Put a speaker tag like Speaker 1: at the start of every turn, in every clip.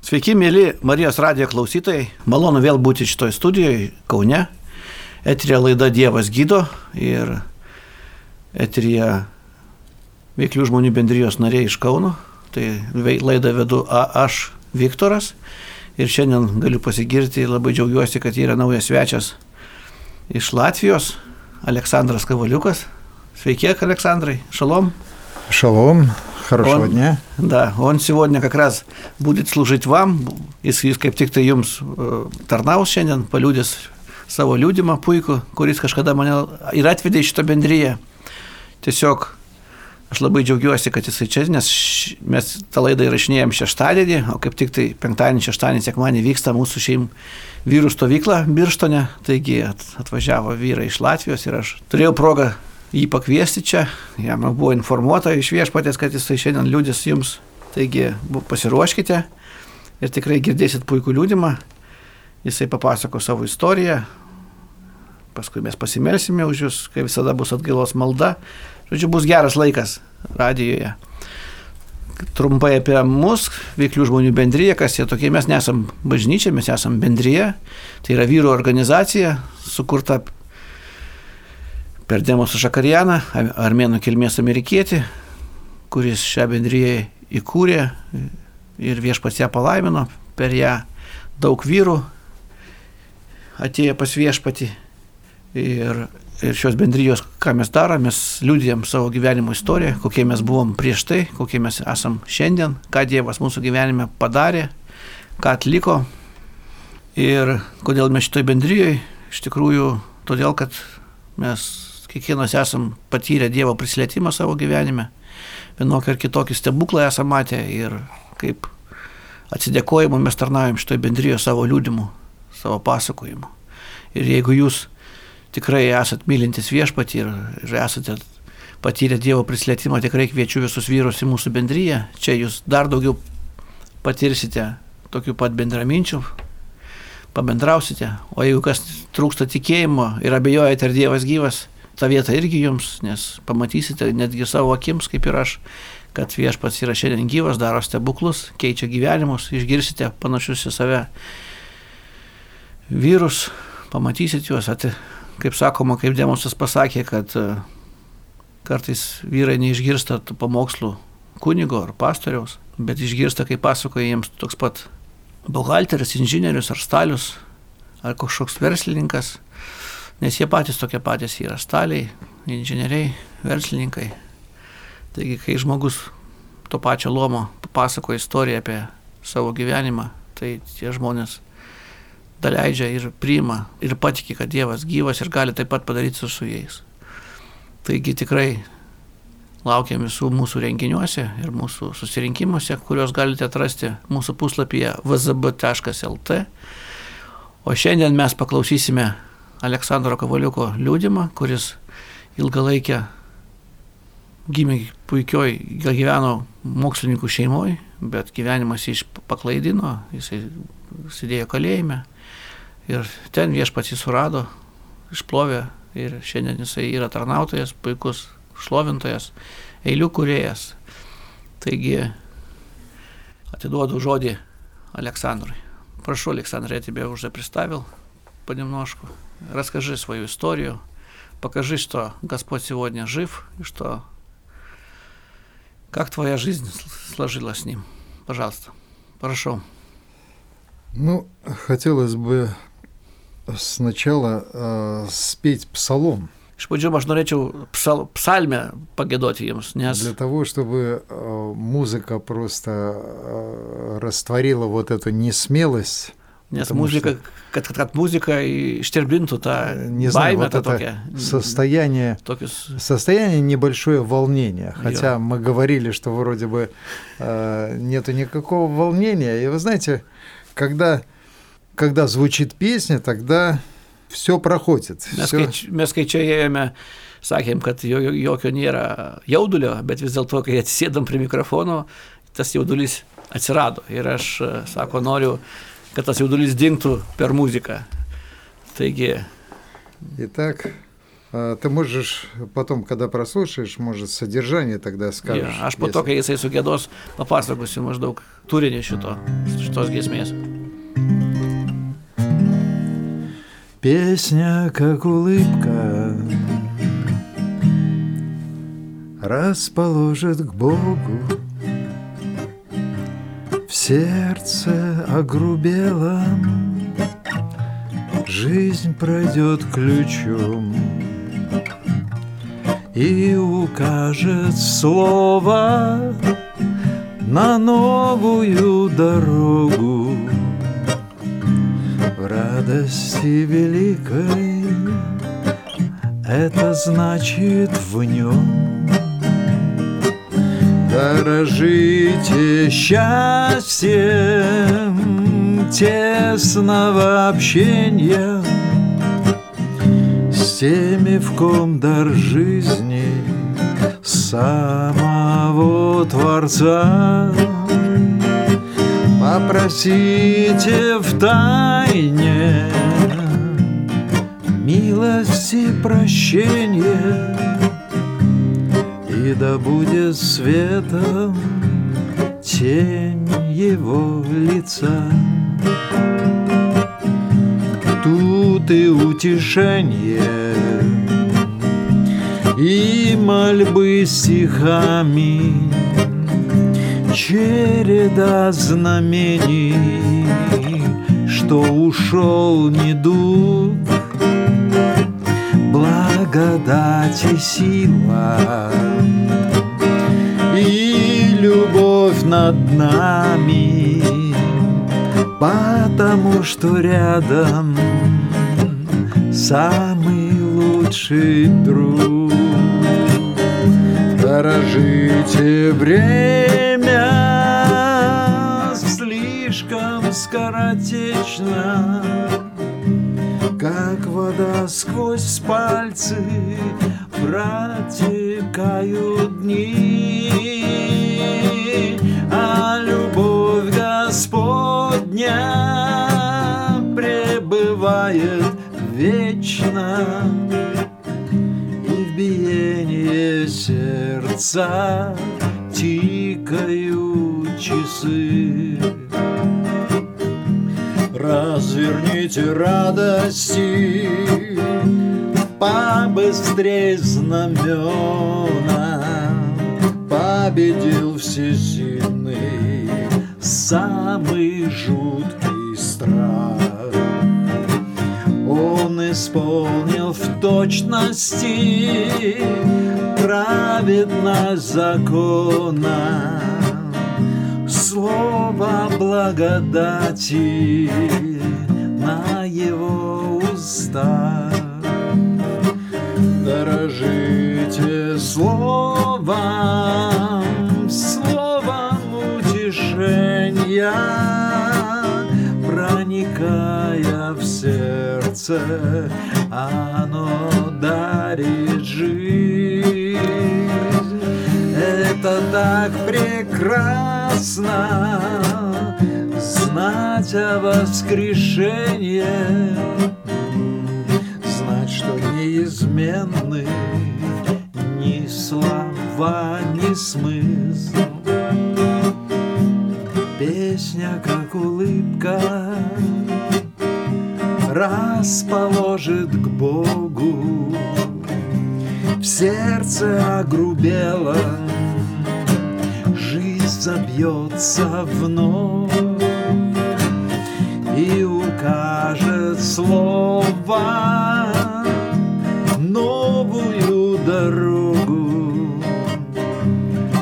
Speaker 1: Sveiki, mėly Marijos radijo klausytojai. Malonu vėl būti šitoj studijoje Kaune. Eterija laida Dievas gydo ir eterija veiklių žmonių bendrijos nariai iš Kauno. Tai laidą vedu a, aš, Viktoras. Ir šiandien galiu pasigirti, labai džiaugiuosi, kad yra naujas svečias iš Latvijos, Aleksandras Kavaliukas. Sveiki, Aleksandrai. Šalom.
Speaker 2: Шалом, хорошего
Speaker 1: Он-
Speaker 2: дня.
Speaker 1: Да, он сегодня как раз будет служить вам, jis, jis kaip tik tai jums e, tarnaus šiandien, paliūdės savo liūdimą puikų, kuris kažkada mane ir atvedė į šitą bendryją. Tiesiog aš labai džiaugiuosi, kad jisai čia, nes š- mes tą laidą įrašinėjom šeštadienį, o kaip tik tai penktadienį, šeštadienį, sekmadienį vyksta mūsų šeim vyrų stovykla Birštone, taigi at- atvažiavo vyrai iš Latvijos ir aš turėjau progą jį pakviesti čia, jam buvo informuota iš viešpatės, kad jisai šiandien liūdės jums, taigi bu- pasiruoškite ir tikrai girdėsit puikų liūdimą, jisai papasako savo istoriją, paskui mes pasimelsime už jūs, kai visada bus atgailos malda, žodžiu, bus geras laikas radijoje. Trumpai apie mus, veiklių žmonių bendryje, kas jie tokie, mes nesam bažnyčia, mes esam bendryje, tai yra vyrų organizacija, sukurta per Demosą Šakarianą, am- armėnų kilmės amerikietį, kuris šią bendryje įkūrė ir viešpats ją palaimino, per ją daug vyrų atėjo pas viešpatį ir, ir šios bendrijos, ką mes darome, mes liūdėjom savo gyvenimo istoriją, kokie mes buvom prieš tai, kokie mes esam šiandien, ką Dievas mūsų gyvenime padarė, ką atliko ir kodėl mes šitoj bendrijoje, iš tikrųjų, todėl, kad mes kiekvienas esam patyrę Dievo prisilietimą savo gyvenime, vienokį ar kitokį stebuklą esame matę ir kaip atsidėkojimu mes tarnaujam šitoj bendrijoje savo liūdimu, savo pasakojimu. Ir jeigu jūs tikrai esat mylintis viešpatį ir, ir esate patyrę Dievo prisilietimą, tikrai kviečiu visus vyrus į mūsų bendryją. Čia jūs dar daugiau patirsite tokių pat bendraminčių, pabendrausite. O jeigu kas trūksta tikėjimo ir abejojate, ar Dievas gyvas, ta vieta irgi jums, nes pamatysite netgi savo akims, kaip ir aš, kad viešpats yra šiandien gyvas, daro stebuklus, keičia gyvenimus, išgirsite panašius į save vyrus, pamatysit juos, ati, kaip sakoma, kaip Demosas pasakė, kad e, kartais vyrai neišgirsta tų pamokslų kunigo ar pastoriaus, bet išgirsta, kai pasakoja jiems toks pat buhalteris, inžinierius ar stalius, ar kažkoks verslininkas, nes jie patys tokie patys yra staliai, inžinieriai, verslininkai. Taigi, kai žmogus to pačio lomo papasakoja istoriją apie savo gyvenimą, tai tie žmonės daleidžia ir priima ir patiki, kad Dievas gyvas ir gali taip pat padaryti su, su jais. Taigi tikrai laukiam visų mūsų renginiuose ir mūsų susirinkimuose, kuriuos galite atrasti mūsų puslapyje wzb.lt. O šiandien mes paklausysime Aleksandro Kavaliuko liūdimą, kuris ilgalaikę gimė puikioj, gal gyveno mokslininkų šeimoje, bet gyvenimas jį iš- paklaidino, jisai sėdėjo kalėjime ir ten viešpats jį surado, išplovė ir šiandien jisai yra tarnautojas, puikus šlovintojas, eilių kuriejas. Taigi atiduodu žodį Aleksandrui. Прошу, Александр, я тебя уже представил понемножку. Расскажи свою историю. Покажи, что Господь сегодня жив и что... Как твоя жизнь сл- сложилась с Ним? Пожалуйста. Прошу.
Speaker 2: Ну, хотелось бы сначала э, спеть псалом,
Speaker 1: Шпудžiu, aš norėčiau psal, psalmę pagėdoti jums, nes...
Speaker 2: для того, чтобы э, музыка просто э, растворила вот эту несмелость.
Speaker 1: Nes
Speaker 2: Потому
Speaker 1: muzika, kad, kad, kad muzika ištirpintų tą
Speaker 2: Не
Speaker 1: baimę,
Speaker 2: знаю, вот
Speaker 1: tą
Speaker 2: это
Speaker 1: tokią.
Speaker 2: состояние,
Speaker 1: Tokius.
Speaker 2: состояние небольшое волнение.
Speaker 1: Я.
Speaker 2: Хотя мы говорили, что вроде бы э, нету никакого волнения. И вы знаете, когда, когда звучит песня, тогда все проходит.
Speaker 1: Mes
Speaker 2: всё-
Speaker 1: kai, č- mes kai čia ėjome, sakėm, kad jo, jo- jokio nėra jaudulio, bet vis dėlto, kai atsėdam prie mikrofono, tas jaudulys atsirado. Ir aš, e, sako, noriu, kad tas jaudulys dinktų per muziką. Taigi,
Speaker 2: Итак, а, ты можешь потом, когда прослушаешь, может, содержание тогда
Speaker 1: jo,
Speaker 2: скажешь.
Speaker 1: aš po to,
Speaker 2: если-
Speaker 1: kai jisai sugėdos, papasakosiu maždaug turinį šito, šitos giesmės.
Speaker 2: Песня, как улыбка, расположит к Богу. В сердце огрубело, жизнь пройдет ключом и укажет слово на новую дорогу. В радости великой это значит в нем Дорожите счастьем тесного общения С теми, в ком дар жизни самого Творца Попросите в тайне милости прощения, и да будет светом тень его лица. Тут и утешение, и мольбы стихами, череда знамений, что ушел недуг, благодать и сила, и любовь над нами, потому что рядом самый лучший друг. Дорожите время слишком скоротечно, как вода сквозь пальцы протекают дни, а любовь Господня пребывает вечно и в биении сердца тикают часы. Разверните радости побыстрей знамена, победил всесильный самый жуткий страх. Он исполнил в точности праведность закона. Слово благодати на его уста. Дорожите словом, словом утешения, проникая в сердце, оно дарит жизнь. Это так прекрасно знать о воскрешении, знать, что неизменны ни слова, ни смысл. Песня, как улыбка, расположит к Богу. В сердце огрубело, жизнь забьется вновь и укажет слово новую дорогу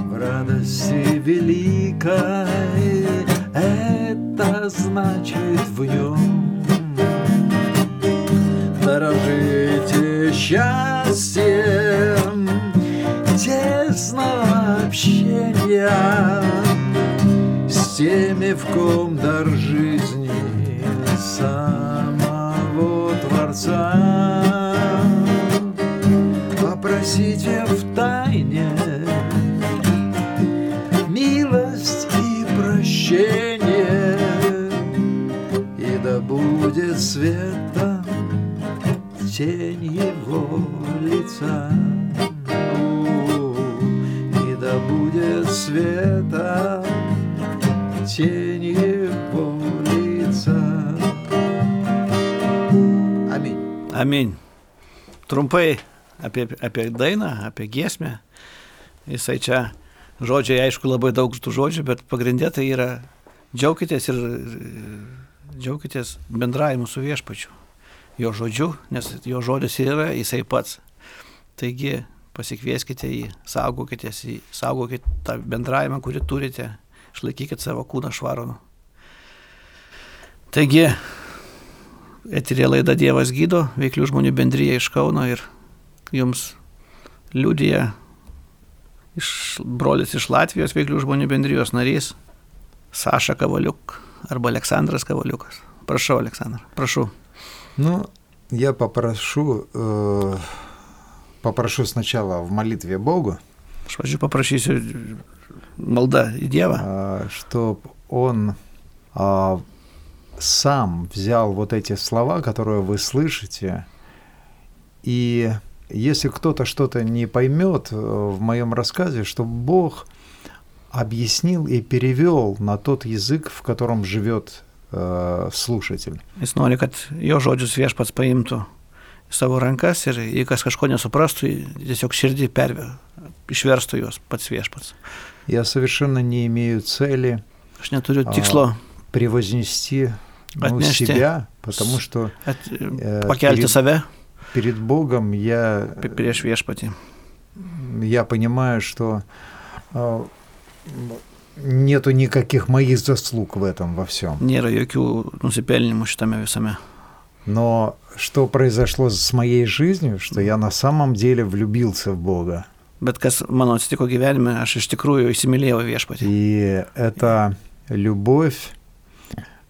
Speaker 2: в радости великой. Это значит в нем дорожите счастьем тесного общения с теми, в ком дар жизни самого Творца. Попросите в тайне милость и прощение, и да будет светом тень его лица. У, И да будет светом тень его
Speaker 1: Amīn. Trumpai apie, apie dainą, apie giesmę. Jisai čia žodžiai, aišku, labai daug tų žodžių, bet pagrindė tai yra džiaukitės ir ir džiaukitės bendravimu su viešpačiu. Jo žodžiu, nes jo žodis ir yra jisai pats. Taigi pasikvieskite jį, saugokitės jį, saugokite tą bendravimą, kurį turite, išlaikykite savo kūną švarų. Taigi, eterė laida Dievas gydo, veiklių žmonių bendryje iš Kauno ir jums liudija iš brolis iš Latvijos veiklių žmonių bendrijos narys Saša Kavaliuk arba Aleksandras Kavaliukas. Prašau, Aleksandr, prašau.
Speaker 2: Ну, я попрошу, э, попрошу сначала в молитве Богу,
Speaker 1: Aš važiu paprašysiu maldą į Dievą,
Speaker 2: чтобы А, Он а, сам взял вот эти слова, которые вы слышите, и если кто-то что-то не поймет э, в моем рассказе, чтобы Бог объяснил и перевел на тот язык, в котором живет э, слушатель.
Speaker 1: jis nori, kad jo žodžius viešpats paimtų į savo rankas ir jei kas kažko nesuprastų, tiesiog širdį pervė, išverstų juos pats viešpats.
Speaker 2: Я совершенно не имею цели
Speaker 1: Aš neturiu
Speaker 2: А.
Speaker 1: tikslo
Speaker 2: превознести ну,
Speaker 1: Отнести.
Speaker 2: себя, потому что
Speaker 1: at,
Speaker 2: э,
Speaker 1: pakelti
Speaker 2: перед-
Speaker 1: save
Speaker 2: перед Богом я,
Speaker 1: pi- prieš viešpatį.
Speaker 2: я понимаю, что э, нету никаких моих заслуг в этом во всем.
Speaker 1: Nėra jokių nusipelnimų šitame visame.
Speaker 2: Но что произошло с моей жизнью, что я на самом деле влюбился в Бога.
Speaker 1: Bet kas mano atsitiko gyvenime, aš iš tikrųjų įsimylėjau viešpatį.
Speaker 2: И эта любовь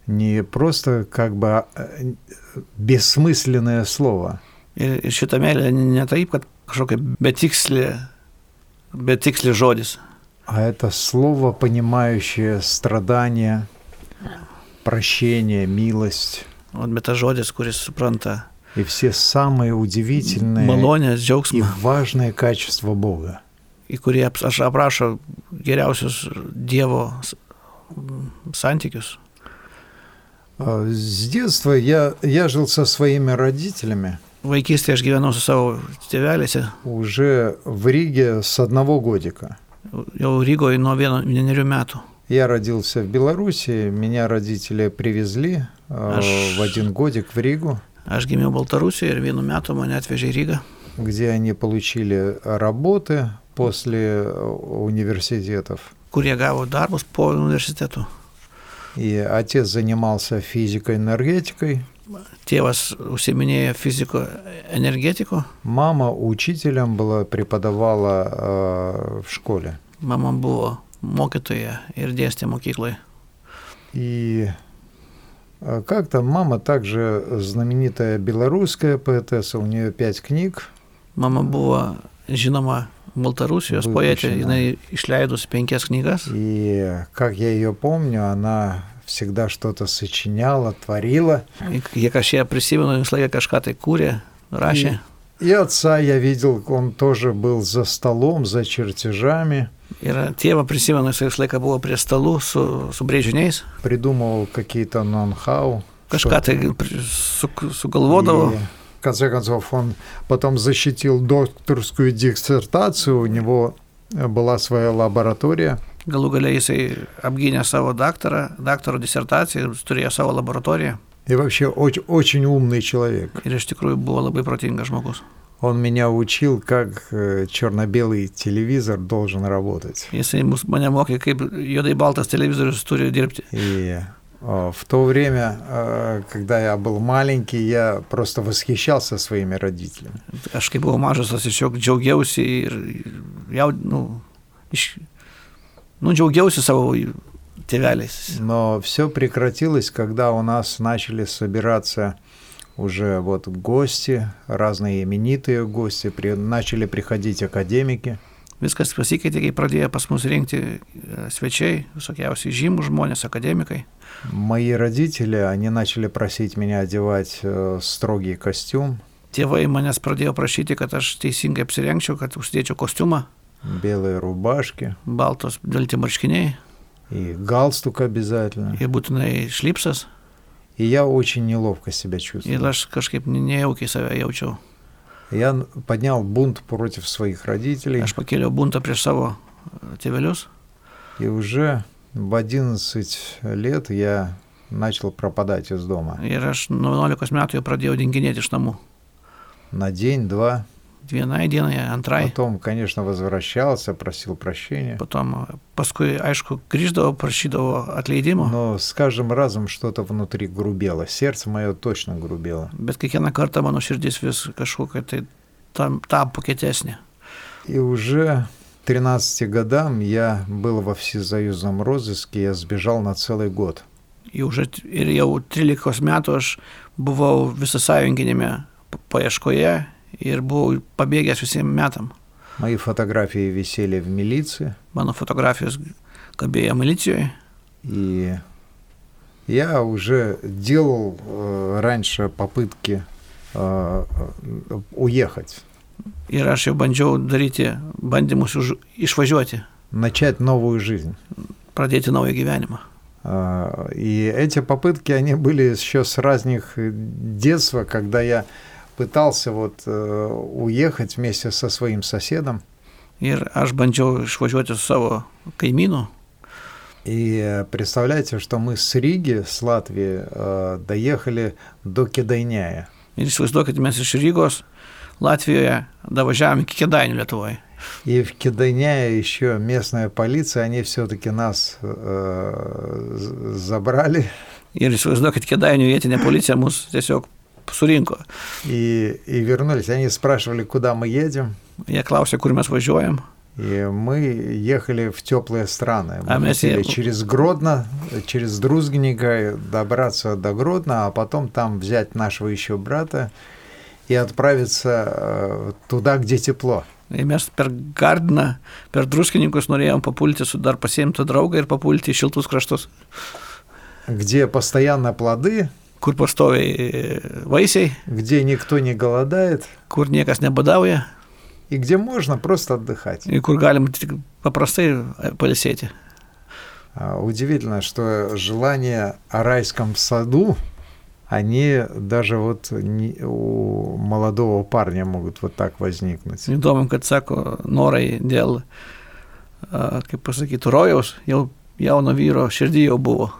Speaker 2: не просто как бы э, бессмысленное слово.
Speaker 1: Ir, ir šitą meilę ne taip, kad kažkokia betikslė, betikslė žodis.
Speaker 2: А это слово, понимающее страдания, прощение, милость
Speaker 1: O, bet tas žodis, kuris supranta
Speaker 2: и все самые удивительные
Speaker 1: malonės,
Speaker 2: и
Speaker 1: džiaugsmą,
Speaker 2: важные качества Бога.
Speaker 1: į kurį aps- aš aprašau geriausius Dievo s- m, santykius.
Speaker 2: А, С детства я, я жил со своими родителями.
Speaker 1: Vaikystėje aš gyvenau su savo tėvelėse,
Speaker 2: Уже в Риге с одного годика.
Speaker 1: jau Rygoje nuo vieno- vienerių metų.
Speaker 2: Я родился в Беларуси, меня родители привезли э,
Speaker 1: Аж-
Speaker 2: в один годик в Ригу,
Speaker 1: Aš gimiau Baltarusijoje ir vienu metu mane atvežė į Rygą.
Speaker 2: где они получили работы после э, университетов.
Speaker 1: kurie gavo darbus po universitetų.
Speaker 2: И отец занимался физикой, энергетикой,
Speaker 1: Tėvas užsiminėjo fiziko energetiko,
Speaker 2: мама учителем была, преподавала э, в школе.
Speaker 1: mama buvo mokytoja ir dėstė mokykloje.
Speaker 2: И э, как-то мама также знаменитая белорусская поэтесса, у нее пять книг.
Speaker 1: Mama buvo žinoma Baltarusijos
Speaker 2: Buvo
Speaker 1: poetė,
Speaker 2: žinoma.
Speaker 1: jinai išleidus penkias knygas.
Speaker 2: И как я ее помню, она всегда что-то сочиняла, творила.
Speaker 1: Kiek aš ją prisimenu, visą laiką kažką tai kūrė, rašė.
Speaker 2: И отца я видел, он тоже был за столом, за чертежами,
Speaker 1: Ir tėvą prisimenu, jis visą laiką buvo prie stalų su, su brėžiniais,
Speaker 2: придумывал какие-то нон-хау.
Speaker 1: kažką tai pri- su, sugalvodavo.
Speaker 2: в конце концов, он потом защитил докторскую диссертацию, у него э, была своя лаборатория.
Speaker 1: Galų galiai jisai apgynė savo daktarą, daktaro disertaciją, ir turėjo savo laboratoriją.
Speaker 2: И вообще оч- очень умный человек.
Speaker 1: Ir iš tikrųjų buvo labai protingas žmogus.
Speaker 2: Он меня учил, как э, черно-белый телевизор должен работать.
Speaker 1: Jisai mus, mane mokė, kaip juodai baltas televizorius turi dirbti.
Speaker 2: И э, в то время, э, когда я был маленький, я просто восхищался своими родителями.
Speaker 1: Aš kai buvau mažas, aš tiesiog džiaugiausi ir jau, nu, iš, nu, džiaugiausi savo tėveliais.
Speaker 2: Но все прекратилось, когда у нас начали собираться уже вот гости, разные именитые гости, при- начали приходить академики.
Speaker 1: Viskas pasikeitė, kai pradėjo pas mus rinkti e, svečiai, visokiausiai žymų žmonės, akademikai.
Speaker 2: Мои родители, они начали просить меня одевать э, строгий костюм,
Speaker 1: Tėvai manęs pradėjo prašyti, kad aš teisingai apsirengčiau, kad užsidėčiau kostiumą,
Speaker 2: белые рубашки
Speaker 1: baltos dėlti marškiniai
Speaker 2: и галстук обязательно.
Speaker 1: ir būtinai šlipsas.
Speaker 2: И я очень неловко себя
Speaker 1: Ir
Speaker 2: чувствовал.
Speaker 1: aš kažkaip ne- nejaukiai save jaučiau.
Speaker 2: Я н- поднял бунт против своих родителей.
Speaker 1: Aš pakėliau buntą prieš savo e, tėvelius.
Speaker 2: И уже в 11 лет я начал пропадать из дома.
Speaker 1: Ir aš nuo 11 metų jau pradėjau dinginėti iš namų.
Speaker 2: На день-два.
Speaker 1: Vienai dienai, antrai.
Speaker 2: Потом, конечно, возвращался, просил прощения.
Speaker 1: Potom, e, paskui, aišku, grįždavo, prašydavo atleidimo.
Speaker 2: Но с каждым разом что-то внутри грубело. Сердце мое точно грубело.
Speaker 1: Bet kiekvieną kartą mano širdis vis kažkokia tai tam, tapo kietesnė.
Speaker 2: И уже к 13 годам я был во всесоюзном розыске. Я сбежал на целый год.
Speaker 1: Jau už, ir jau 13 metų aš buvau visasąjunginėme paieškoje ir buvau pabėgęs visiems metam.
Speaker 2: Мои фотографии висели в милиции.
Speaker 1: Mano fotografijos kabėjo milicijoje.
Speaker 2: И я уже делал э, раньше попытки э, э, уехать,
Speaker 1: Ir aš jau bandžiau daryti bandymus už, išvažiuoti,
Speaker 2: начать новую жизнь.
Speaker 1: pradėti naują gyvenimą.
Speaker 2: Э, И эти попытки, они были еще с разных детства, когда я пытался вот э, уехать вместе со своим соседом.
Speaker 1: Ir aš bandžiau išvažiuoti su savo kaimynu.
Speaker 2: И э, представляете, что мы с Риги, с Латвии, э, доехали до Кедайняя.
Speaker 1: Ir įsivaizduokit, mes iš Rygos, Latvijoje, davažiavome iki Kedainių Lietuvoje.
Speaker 2: И в Кедайняе еще местная полиция, они все-таки нас э, з- забрали.
Speaker 1: Ir įsivaizduokit, Kedainių vietinė policija mus tiesiog surinko.
Speaker 2: И, и вернулись. Они спрашивали, куда мы едем.
Speaker 1: Jie klausė, kur mes važiuojam.
Speaker 2: И мы ехали в теплые страны. Мы
Speaker 1: А мы
Speaker 2: хотели
Speaker 1: се-
Speaker 2: через Гродно, через Друзгника добраться до Гродно, а потом там взять нашего еще брата и отправиться э, туда, где тепло.
Speaker 1: Ir mes per Gardiną, per Druskininkus norėjom papulti su dar pasiimtų draugą ir papulti į šiltus kraštus,
Speaker 2: Где постоянно плоды,
Speaker 1: kur pastoviai vaisiai,
Speaker 2: где никто не голодает
Speaker 1: kur niekas nebadauja
Speaker 2: и где можно просто отдыхать.
Speaker 1: ir kur galim tik paprastai palisėti.
Speaker 2: А, Удивительно, что желания о райском саду, они даже вот не- у молодого парня могут вот так возникнуть.
Speaker 1: Įdomu, kad sako norai dėl, a, kaip pasakyti, rojaus, jau jauno vyro širdį jau buvo.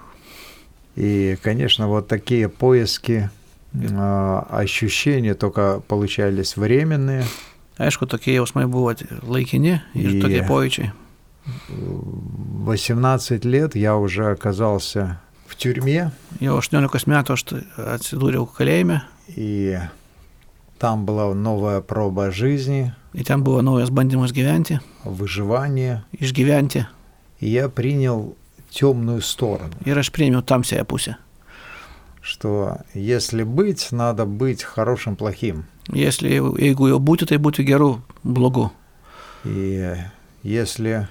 Speaker 2: И, конечно, вот такие поиски а, ощущения только получались временные.
Speaker 1: Aišku, tokie jausmai buvo ti- laikini ir
Speaker 2: Jie.
Speaker 1: tokie pojūčiai.
Speaker 2: В 18 лет я уже оказался в тюрьме,
Speaker 1: Jau 18 metų aš t- atsidūriau kalėjime
Speaker 2: и там была новая проба жизни,
Speaker 1: ir ten buvo naujas bandymas gyventi,
Speaker 2: выживание.
Speaker 1: išgyventi
Speaker 2: И я принял темную сторону.
Speaker 1: ir aš priėmiau tamsiąją pusę.
Speaker 2: что если быть, надо быть хорошим, плохим.
Speaker 1: Jesli, jau- jeigu jau būti, tai būti gerų, blogų.
Speaker 2: И если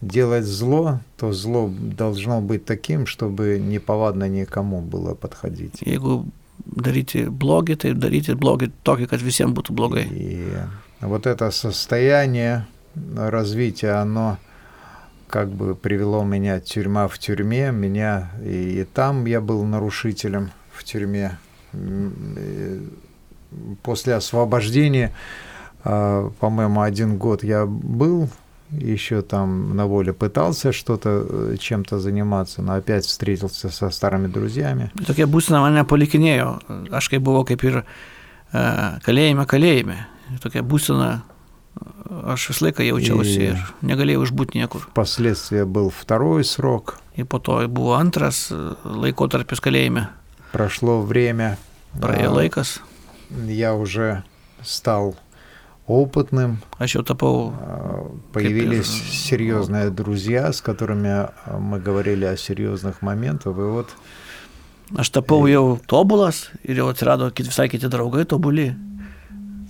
Speaker 2: делать зло, то зло должно быть таким, чтобы неповадно никому было подходить.
Speaker 1: Jeigu daryti blogį, tai daryti blogį tokį, kad visiems būtų blogai.
Speaker 2: И вот это состояние развития, оно как бы привело меня тюрьма в тюрьме, меня и, и там я был нарушителем в тюрьме. М, э, После освобождения, а, по-моему, один год я был еще там на воле, пытался что-то э, чем-то заниматься, но опять встретился со старыми друзьями.
Speaker 1: Tokia būsena mane palikinėjo. Aš kaip buvau kaip ir e, kalėjime, kalėjime. Tokia būsena aš visą laiką jaučiausi ir
Speaker 2: Ir-
Speaker 1: negalėjau išbūti niekur.
Speaker 2: Впоследствии был второй срок.
Speaker 1: Ir po to buvo antras e, laikotarpis kalėjime.
Speaker 2: Прошло время.
Speaker 1: Praėjo
Speaker 2: а,
Speaker 1: laikas.
Speaker 2: я уже стал опытным,
Speaker 1: Aš jau tapau,
Speaker 2: э, появились
Speaker 1: Капец.
Speaker 2: серьезные друзья, с которыми э, мы говорили о серьезных моментах, и вот
Speaker 1: aš tapau jau tobulas ir jau atsirado kit, visai kiti draugai tobuli.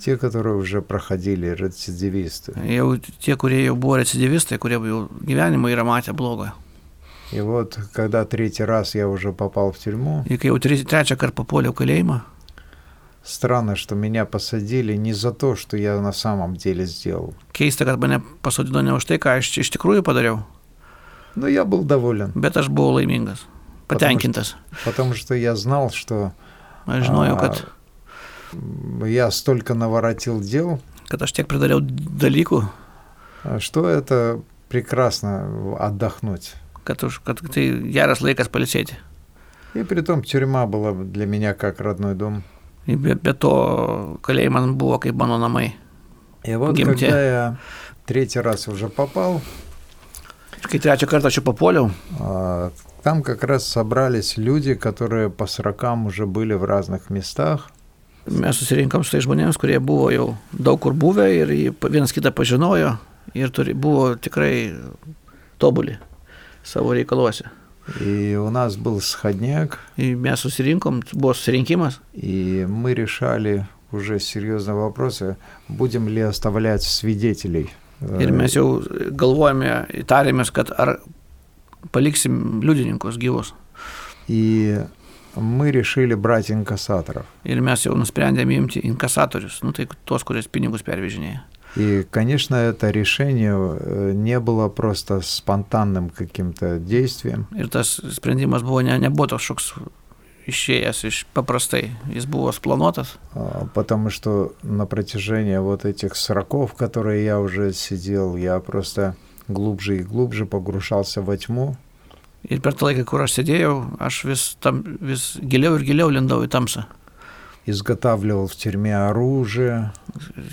Speaker 2: те, которые уже проходили рецидивисты.
Speaker 1: Jau tie, kurie jau buvo recidivistai, kurie jau gyvenimą yra matę blogo.
Speaker 2: И вот, когда третий раз я уже попал в тюрьму,
Speaker 1: Ir kai jau tre- trečią kartą papuoliau į kalėjimą,
Speaker 2: странно, что меня посадили не за то, что я на самом деле сделал.
Speaker 1: keista, kad mane pasodino ne už tai, ką aš čia iš tikrųjų padariau,
Speaker 2: Но я был доволен.
Speaker 1: bet aš buvau laimingas. patenkintas.
Speaker 2: Потому что я знал, что
Speaker 1: Aš žinojau, kad,
Speaker 2: я столько наворотил дел, э,
Speaker 1: kad aš tiek pridariau dalykų,
Speaker 2: что это прекрасно отдохнуть.
Speaker 1: kad, už, kad tai geras laikas palisėti.
Speaker 2: И притом тюрьма была для меня как родной дом.
Speaker 1: Ir Be, be to, kalėjai man buvo kaip mano namai.
Speaker 2: И вот
Speaker 1: Гимте.
Speaker 2: когда я третий раз уже попал,
Speaker 1: Ir Kai trečią kartą čia papuoliau,
Speaker 2: а, там как раз собрались люди, которые по срокам уже были в разных местах.
Speaker 1: mes susirinkom su tai žmonėms, kurie buvo jau daug kur buvę ir jį pa- vienas kitą pažinojo ir turi, buvo tikrai tobuli savo reikaluose.
Speaker 2: И у нас был сходняк,
Speaker 1: Ir mes susirinkom, buvo susirinkimas,
Speaker 2: и мы решали уже серьезные вопросы, будем ли оставлять свидетелей.
Speaker 1: Ir
Speaker 2: Э,
Speaker 1: mes jau galvojame, įtarėmės, kad ar paliksim liudininkus gyvus.
Speaker 2: И мы решили брать инкассаторов.
Speaker 1: Ir mes jau nusprendėme imti inkasatorius, nu tai tuos, kuris pinigus pervežinėja.
Speaker 2: И, конечно, это решение э, не было просто спонтанным каким-то действием.
Speaker 1: Ir tas sprendimas buvo ne, nebuvo toks šoks išėjęs iš paprastai, jis buvo suplanuotas.
Speaker 2: А, Потому что на протяжении вот этих сроков, которые я уже сидел, я просто глубже и глубже погружался во тьму.
Speaker 1: Ir per tą laiką, kur aš sėdėjau, aš vis, tam, vis giliau ir giliau lindau į tamsą.
Speaker 2: Изготавливал в тюрьме оружие,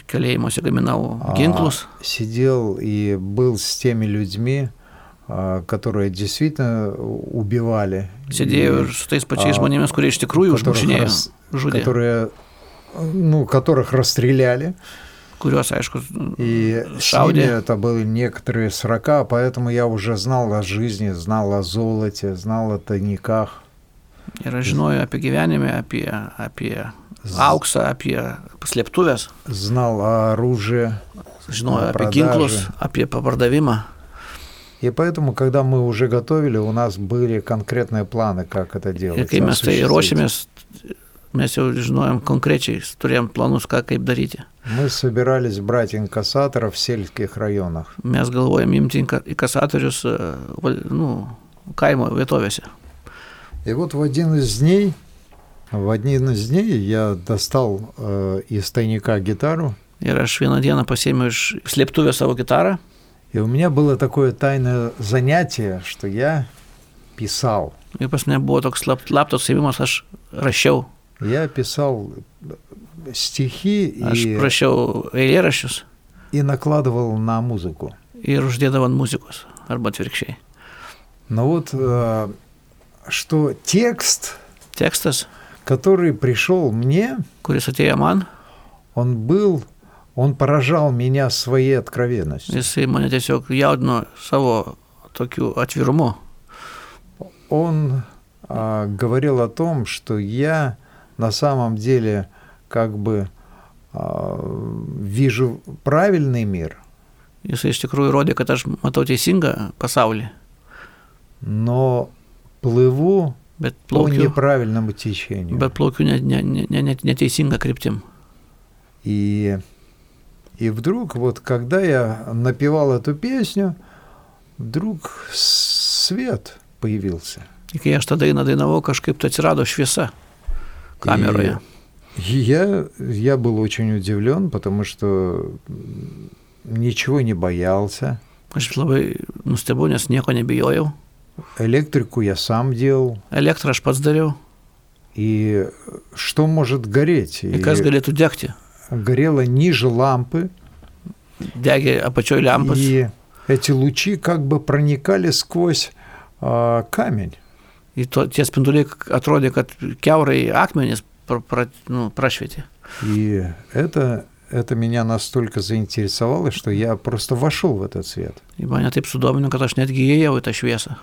Speaker 1: Kalėjimuose gaminau
Speaker 2: А.
Speaker 1: ginklus,
Speaker 2: сидел и был с теми людьми, а, которые действительно убивали.
Speaker 1: sėdėjau
Speaker 2: И
Speaker 1: ir su tais pačiais
Speaker 2: A.
Speaker 1: žmonėmis, kurie iš tikrųjų
Speaker 2: которых
Speaker 1: užmušinėjo,
Speaker 2: рас-
Speaker 1: žudė,
Speaker 2: которые, ну, которых расстреляли.
Speaker 1: kuriuos, aišku,
Speaker 2: И с
Speaker 1: Шауди.
Speaker 2: ними это были некоторые срока, поэтому я уже знал о жизни, знал о золоте, знал о тайниках.
Speaker 1: Ir aš žinojau apie gyvenimą, apie, apie
Speaker 2: з-
Speaker 1: auksą, apie slėptuvės,
Speaker 2: Знал о оружии.
Speaker 1: žinojau apie
Speaker 2: Продажи.
Speaker 1: ginklus, apie pardavimą.
Speaker 2: И поэтому, когда мы уже готовили, у нас были конкретные планы, как это делать.
Speaker 1: Ir kai mes tai
Speaker 2: осуществить.
Speaker 1: ruošėmės, mes jau žinojom konkrečiai, turėjom planus, ką kaip daryti.
Speaker 2: Мы собирались брать инкассаторов в сельских районах.
Speaker 1: Mes galvojom imti inka- inkasatorius e, val- nu, kaimo vietovėse.
Speaker 2: И вот в один из дней, в один из дней я достал э, из тайника гитару,
Speaker 1: Ir aš vieną dieną pasėmiau iš slėptuvės savo gitarą
Speaker 2: и у меня было такое тайное занятие, что я писал.
Speaker 1: ir pas mane buvo toks slap, slaptas savimas, aš rašiau,
Speaker 2: Я писал стихи
Speaker 1: aš
Speaker 2: и,
Speaker 1: rašiau eilėraščius
Speaker 2: и накладывал на музыку.
Speaker 1: ir uždėdavau ant muzikos arba atvirkščiai.
Speaker 2: Но вот э, что текст,
Speaker 1: Tekstas
Speaker 2: который пришел мне,
Speaker 1: kuris atėjo man,
Speaker 2: он был, он поражал меня своей откровенностью.
Speaker 1: jisai mane tiesiog jaudino savo tokiu atvirumu.
Speaker 2: Он э, говорил о том, что я на самом деле как бы э, вижу правильный мир,
Speaker 1: Jisai iš tikrųjų rodė, kad aš matau teisingą pasaulį,
Speaker 2: но плыву
Speaker 1: bet
Speaker 2: по
Speaker 1: plaukiu,
Speaker 2: неправильному течению.
Speaker 1: bet plaukiu ne, ne, ne, ne, ne, neteisinga kryptim.
Speaker 2: И, и вдруг, вот когда я напевал эту песню, вдруг свет появился.
Speaker 1: Ir kai aš tą dainą dainavau, kažkaip tai atsirado šviesa kameroje.
Speaker 2: И я, я был очень удивлен, потому что м, ничего не боялся.
Speaker 1: Aš labai nustebau, nes nieko nebijojau.
Speaker 2: Электрику я сам делал.
Speaker 1: Elektrą aš pats dariau.
Speaker 2: И что может гореть?
Speaker 1: Ir
Speaker 2: И
Speaker 1: kas galėtų degti?
Speaker 2: горело ниже лампы.
Speaker 1: Degė apačioj lempas.
Speaker 2: И эти лучи как бы проникали сквозь а, камень.
Speaker 1: Ir to, tie spinduliai atrodė, kad keurai akmenys pra, pra, nu, prašvietė.
Speaker 2: И это, это меня настолько заинтересовало, что я просто вошел в этот свет.
Speaker 1: Ir mane taip sudomino, kad aš netgi įėjau į tą šviesą.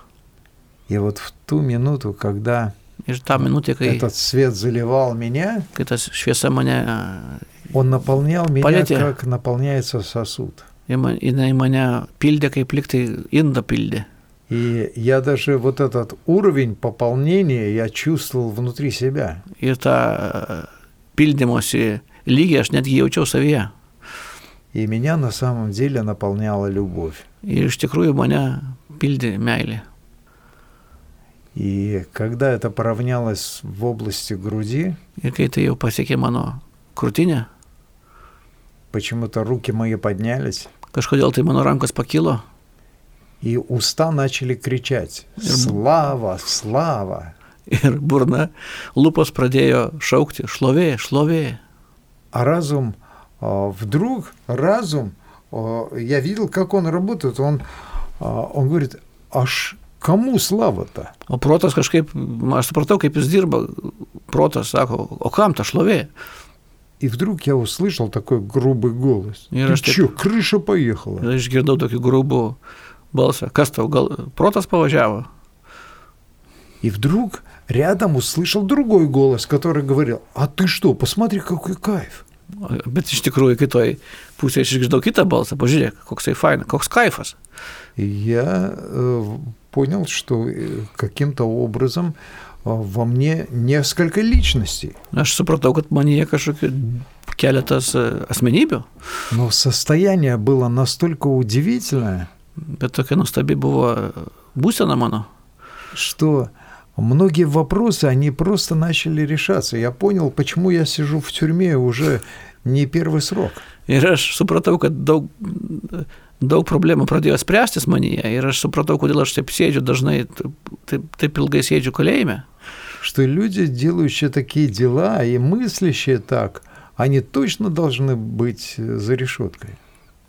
Speaker 2: И вот в ту минуту, когда
Speaker 1: Ir tą minutę, kai,
Speaker 2: этот свет заливал меня,
Speaker 1: kai tas šviesa mane,
Speaker 2: он наполнял меня,
Speaker 1: Понятие.
Speaker 2: как наполняется сосуд.
Speaker 1: e, į ma- jinai mane pildė, kaip liktai indą pildė.
Speaker 2: И я даже вот этот уровень пополнения я чувствовал внутри себя.
Speaker 1: Ir tą e, pildymosi lygį aš netgi jaučiau savyje.
Speaker 2: И меня на самом деле наполняла любовь.
Speaker 1: Ir iš tikrųjų mane pildė meilė.
Speaker 2: И когда это поравнялось в области груди,
Speaker 1: Ir kai tai jau pasiekė mano krūtinę,
Speaker 2: почему-то руки мои поднялись,
Speaker 1: kažkodėl tai mano rankos pakilo
Speaker 2: и уста начали кричать «Слава! Слава!»
Speaker 1: ir burna, lūpos pradėjo šaukti šlovė, šlovė.
Speaker 2: А разум, а, вдруг разум, а, я видел, как он работает, он, а, он говорит, аж кому слава-то?
Speaker 1: O protas kažkaip, aš supratau, kaip jis dirba, protas sako, o kam ta šlovė?
Speaker 2: И вдруг я услышал такой грубый голос.
Speaker 1: Не
Speaker 2: Ты
Speaker 1: растет.
Speaker 2: чё, крыша поехала?
Speaker 1: Ir išgirdau tokį grubų balsą, kas tau, gal protas pavažiavo?
Speaker 2: И вдруг рядом услышал другой голос, который говорил, а ты что, посмотри, какой кайф.
Speaker 1: Bet iš tikrųjų kitoj pusėje aš išgirdau kitą balsą, pažiūrėk, koksai faina, koks kaifas.
Speaker 2: И я э, понял, что э, каким-то образом э, во мне несколько личностей,
Speaker 1: Aš supratau, kad man jie kažkokie keletas e, asmenybių,
Speaker 2: но состояние было настолько удивительное,
Speaker 1: bet tokia nuostabi buvo e, būsena mano.
Speaker 2: что многие вопросы, они просто начали решаться. Я понял, почему я сижу в тюрьме уже не первый срок.
Speaker 1: Ir aš supratau, kad daug, e, daug problemų pradėjo spręstis manyje. Ir aš supratau, kodėl aš taip sėdžiu dažnai, taip, taip, taip ilgai sėdžiu kalėjime.
Speaker 2: Что люди, делающие такие дела и мыслящие так, они точно должны быть э, за решеткой.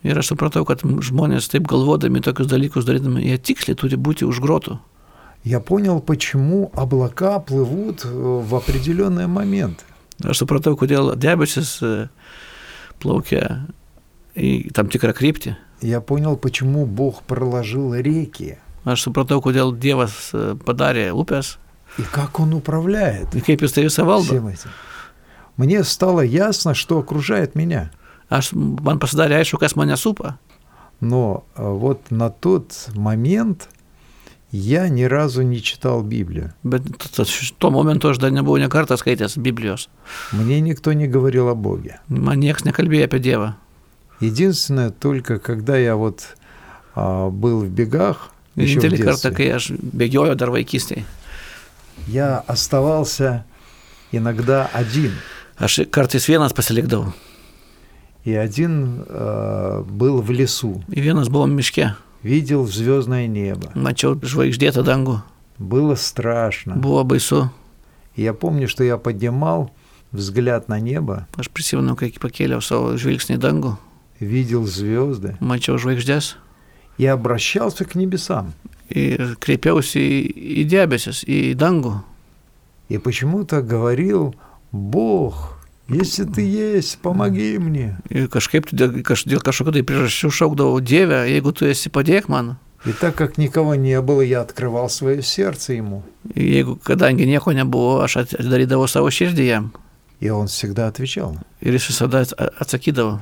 Speaker 1: Ir aš supratau, kad žmonės taip galvodami tokius dalykus darydami, jie tiksliai turi būti už grotų.
Speaker 2: Я понял, почему облака плывут э, в определенные моменты.
Speaker 1: Aš supratau, kodėl debesis e, plaukia į tam tikrą kryptį.
Speaker 2: Я понял, почему Бог проложил реки
Speaker 1: Aš supratau, kodėl Dievas e, padarė upės
Speaker 2: и как Он управляет
Speaker 1: ir kaip jis tai visą valdo.
Speaker 2: всем этим. Мне стало ясно, что окружает меня.
Speaker 1: Aš, man pasidarė aišku, kas mane supa.
Speaker 2: Но э, вот на тот момент я ни разу не читал Библию.
Speaker 1: Bet t- t- tuo momentu aš dar nebuvau nekartą skaitęs Biblijos.
Speaker 2: Мне никто не говорил о Боге.
Speaker 1: Man niekas nekalbėjo apie Dievą.
Speaker 2: Единственное, только когда я вот а, был в бегах, еще в
Speaker 1: Vienintelį kartą,
Speaker 2: детстве,
Speaker 1: kai aš bėgioju dar vaikystėje.
Speaker 2: я оставался иногда один.
Speaker 1: Aš kartais vienas pasilikdavau.
Speaker 2: И один э, был в лесу,
Speaker 1: Ir Vienas buvom miške.
Speaker 2: видел звездное небо.
Speaker 1: Mačiau žvaigždėtą dangų.
Speaker 2: Было страшно.
Speaker 1: Buvo baisu.
Speaker 2: И я помню, что я поднимал взгляд на небо,
Speaker 1: Aš prisimenu, kai pakėliau savo žvilgsnį į dangų,
Speaker 2: видел звезды
Speaker 1: mačiau žvaigždės
Speaker 2: и обращался к небесам.
Speaker 1: ir kreipiausi į, į debesis, į dangų.
Speaker 2: И почему-то говорил, Бог, если ты есть, помоги мне.
Speaker 1: Ir kažkaip tai dėl, kaž, dėl kažkokio tai priežasčių šaukdavau Dievę, jeigu tu esi padėk man.
Speaker 2: И так как никого не было, я открывал свое сердце ему.
Speaker 1: Ir Jeigu, kadangi nieko nebuvo, aš at- atidarydavau savo širdį jam.
Speaker 2: И он всегда отвечал.
Speaker 1: Ir jis visada at- atsakydavo.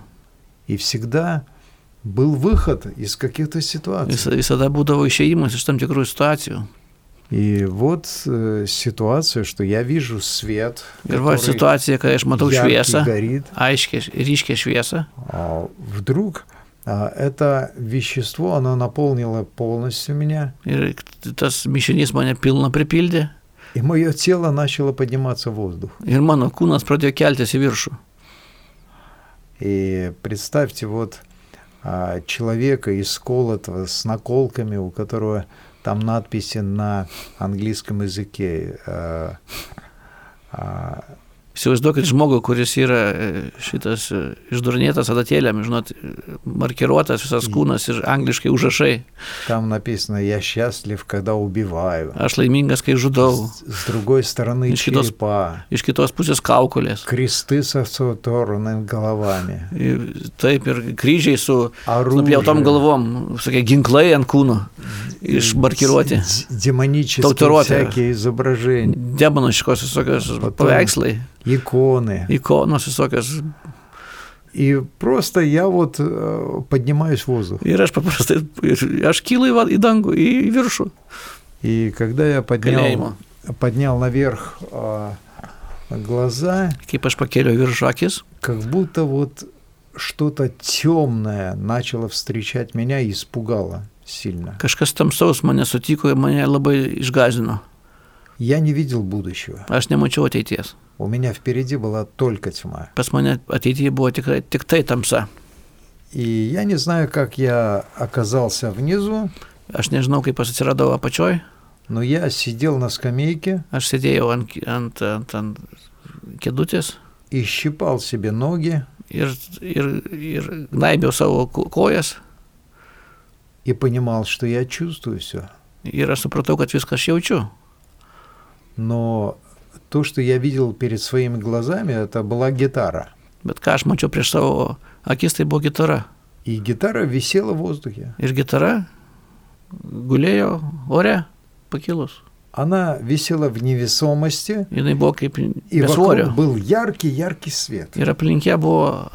Speaker 2: И всегда был выход из каких-то
Speaker 1: Vis,
Speaker 2: ситуаций.
Speaker 1: visada būdavo išėjimas iš tam tikrų situacijų.
Speaker 2: И вот э, ситуация, что я вижу свет,
Speaker 1: Ir va
Speaker 2: который
Speaker 1: situacija, kai aš matau
Speaker 2: яркий
Speaker 1: šviesą,
Speaker 2: горит.
Speaker 1: aiškiai, ryškiai šviesą.
Speaker 2: А вдруг а, это вещество, оно наполнило полностью меня,
Speaker 1: Ir tas mišinys mane pilną pripildė.
Speaker 2: и мое тело начало подниматься в воздух.
Speaker 1: Ir mano kūnas pradėjo keltis į viršų.
Speaker 2: И представьте вот а, человека исколотого с наколками, у которого там надписи на английском языке. э, а,
Speaker 1: Įsivaizduokit žmogų, kuris yra e, šitas e, išdurnėtas adatėlėm, žinot, e, markiruotas visas kūnas ir angliškai užrašai.
Speaker 2: Там написано «Я счастлив, когда убиваю».
Speaker 1: Aš laimingas, kai žudau.
Speaker 2: С, с другой стороны
Speaker 1: Значит, он-
Speaker 2: черепа,
Speaker 1: Iš kitos pusės kaukolės.
Speaker 2: кресты со соторными головами,
Speaker 1: Ir E, Taip ir kryžiai su nupjautom
Speaker 2: оружие.
Speaker 1: galvom, sakė, ginklai ant kūno išmarkiruoti.
Speaker 2: Д- Демонические
Speaker 1: Толтеропия.
Speaker 2: всякие изображения,
Speaker 1: Demoniškos visokios
Speaker 2: Потом-
Speaker 1: paveikslai,
Speaker 2: иконы.
Speaker 1: ikonos visokios.
Speaker 2: И просто я вот э, поднимаюсь в воздух.
Speaker 1: Ir aš paprastai, ir aš kylu į va- į dangų, į į viršų.
Speaker 2: И когда я поднял,
Speaker 1: Kalėjimo.
Speaker 2: поднял наверх э, глаза,
Speaker 1: Kaip aš pakėliau į viršų akis,
Speaker 2: как будто вот что-то темное начало встречать меня и испугало сильно.
Speaker 1: kažkas tamsaus mane sutiko ir mane labai išgazino.
Speaker 2: Я не vidел будущего.
Speaker 1: Aš nemačiau ateities.
Speaker 2: У меня впереди была только тьма.
Speaker 1: Pas mane ateityje buvo tikrai tik tai tamsa.
Speaker 2: И я не знаю, как я оказался внизу,
Speaker 1: Aš nežinau, kaip aš atsiradau apačioj.
Speaker 2: но я сидел на скамейке
Speaker 1: Aš sėdėjau ant, ki- ant, ant, ant kėdutės
Speaker 2: и щипал себе ноги
Speaker 1: ir, ir, ir naibėjau savo ko- kojas
Speaker 2: и понимал, что я чувствую все.
Speaker 1: ir aš supratau, kad viską aš jaučiu.
Speaker 2: Но то, что я видел перед своими глазами, это была гитара.
Speaker 1: Bet ką aš mačiau prieš savo akis, tai buvo gitara.
Speaker 2: И гитара висела в воздухе.
Speaker 1: Ir gitara gulėjo ore pakilus.
Speaker 2: Она висела в невесомости,
Speaker 1: Jinai buvo kaip
Speaker 2: и
Speaker 1: be svorio.
Speaker 2: вокруг был яркий-яркий свет.
Speaker 1: Ir aplinkė buvo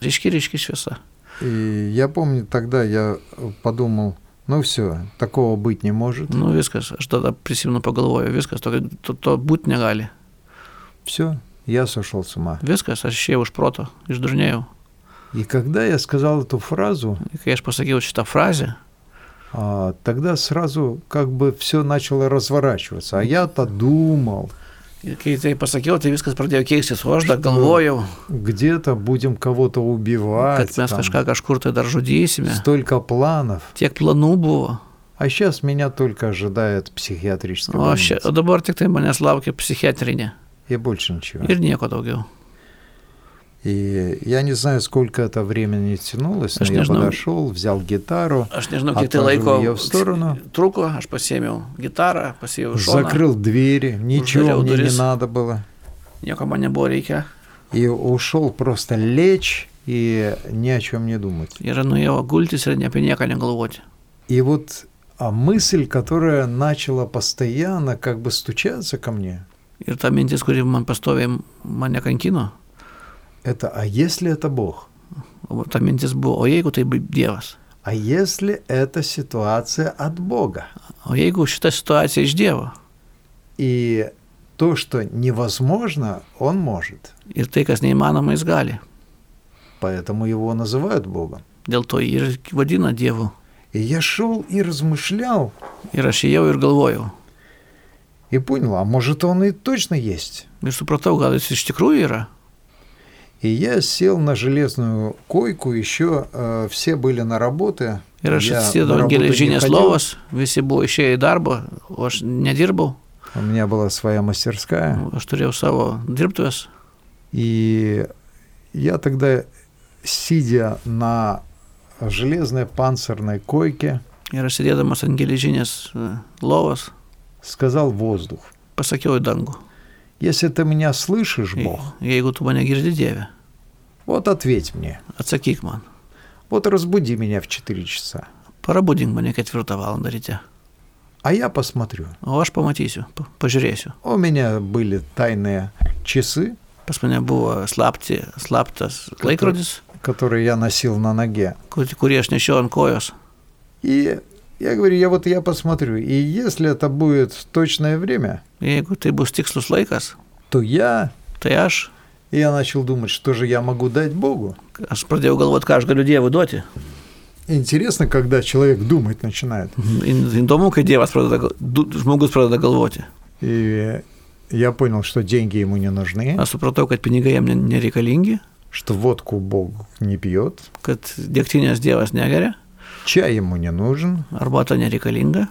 Speaker 1: ryški, ryški šviesa.
Speaker 2: И я помню, тогда я подумал, ну все, такого быть не может.
Speaker 1: Nu viskas, aš tada prisimenu pagalvoju, viskas, to, to, to būti negali.
Speaker 2: Все, я сошел с ума.
Speaker 1: Viskas, aš išėjau iš proto, išdurnėjau.
Speaker 2: И когда я сказал эту фразу,
Speaker 1: Ir Kai aš pasakiau šitą frazę,
Speaker 2: а, тогда сразу как бы все начало разворачиваться. А я-то думал,
Speaker 1: ir kai tai pasakiau, tai viskas pradėjo keistis, o aš dar galvojau,
Speaker 2: где-то будем кого-то убивать.
Speaker 1: kad mes
Speaker 2: там.
Speaker 1: kažką kažkur tai dar žudysime.
Speaker 2: Столько планов.
Speaker 1: Tiek planų buvo.
Speaker 2: А сейчас меня только ожидает психиатрическая
Speaker 1: O, aš,
Speaker 2: больница.
Speaker 1: o dabar tik tai manęs laukia psichiatrinė.
Speaker 2: И больше ничего.
Speaker 1: Ir nieko daugiau.
Speaker 2: И я не знаю, сколько это времени тянулось, но
Speaker 1: Аж
Speaker 2: я
Speaker 1: нежно.
Speaker 2: подошел, взял гитару,
Speaker 1: Aš nežinau, kiek tai laiko
Speaker 2: отложил ее в сторону,
Speaker 1: truko, aš pasėmiau gitarą, pasėmiau šoną,
Speaker 2: закрыл двери, ничего
Speaker 1: Ударил
Speaker 2: мне не
Speaker 1: дурис.
Speaker 2: надо было.
Speaker 1: nieko man nebuvo reikia.
Speaker 2: И ушел просто лечь и ни о чем не думать.
Speaker 1: Ir nuėjau gultis ir ne apie nieką negalvoti.
Speaker 2: И вот а мысль, которая начала постоянно как бы стучаться ко мне,
Speaker 1: Ir ta mintis, kuri man pastoviai mane kankino,
Speaker 2: это «А если это Бог?
Speaker 1: o ta mintis buvo, o jeigu tai bu- Dievas,
Speaker 2: А если эта ситуация от Бога?»
Speaker 1: o jeigu šita situacija iš Dievo
Speaker 2: И то, что невозможно, Он может.
Speaker 1: ir tai, kas neįmanoma, jis gali.
Speaker 2: Поэтому его называют Богом.
Speaker 1: Dėl to jį ir vadina Dievu.
Speaker 2: И я шел и размышлял,
Speaker 1: Ir aš ėjau ir galvojau.
Speaker 2: и понял, а может он и точно есть.
Speaker 1: Ir supratau, gal jis iš tikrųjų yra.
Speaker 2: И я сел на железную койку, еще э, все были на работе.
Speaker 1: Ir aš
Speaker 2: Я
Speaker 1: atsėdau
Speaker 2: на
Speaker 1: ant
Speaker 2: работу не
Speaker 1: geležinės
Speaker 2: ходил.
Speaker 1: lovos, visi buvo išėję į darbą, o aš nedirbau,
Speaker 2: У меня была своя мастерская.
Speaker 1: aš turėjau savo dirbtuvės.
Speaker 2: И я тогда, сидя на железной панцирной койке,
Speaker 1: Ir aš sėdėdamas ant geležinės e, lovos
Speaker 2: сказал воздух.
Speaker 1: pasakiau į dangų.
Speaker 2: Если ты меня слышишь,
Speaker 1: "Je-
Speaker 2: Бог,
Speaker 1: Jeigu tu mane girdi Dieve,
Speaker 2: вот ответь мне.
Speaker 1: atsakyk man,
Speaker 2: Вот разбуди меня в 4 часа.
Speaker 1: parabudink mane ketvirtą valandą ryte,
Speaker 2: А я посмотрю.
Speaker 1: o aš pamatysiu, pa- pažiūrėsiu.
Speaker 2: У меня были тайные часы,
Speaker 1: Pas mane buvo slapti, slaptas laikrodis,
Speaker 2: которые я носил на ноге.
Speaker 1: kur- kurį aš nešiau ant kojos.
Speaker 2: И я говорю, я вот я посмотрю. И если это будет точное время,
Speaker 1: Jeigu tai bus tikslus laikas,
Speaker 2: то я...
Speaker 1: tai aš,
Speaker 2: И я начал думать, что же я могу дать Богу.
Speaker 1: aš pradėjau galvoti, ką aš galiu Dievui duoti.
Speaker 2: Интересно, когда человек думать начинает.
Speaker 1: In- Įdomu, kai Dievas pradeda, gal- du- žmogus pradeda galvoti.
Speaker 2: И я понял, что деньги ему не нужны,
Speaker 1: Aš supratau, kad pinigai jam ne- nereikalingi,
Speaker 2: что водку Бог не пьет,
Speaker 1: kad dėktinės Dievas negeria,
Speaker 2: чай ему не нужен.
Speaker 1: arba ta nereikalinga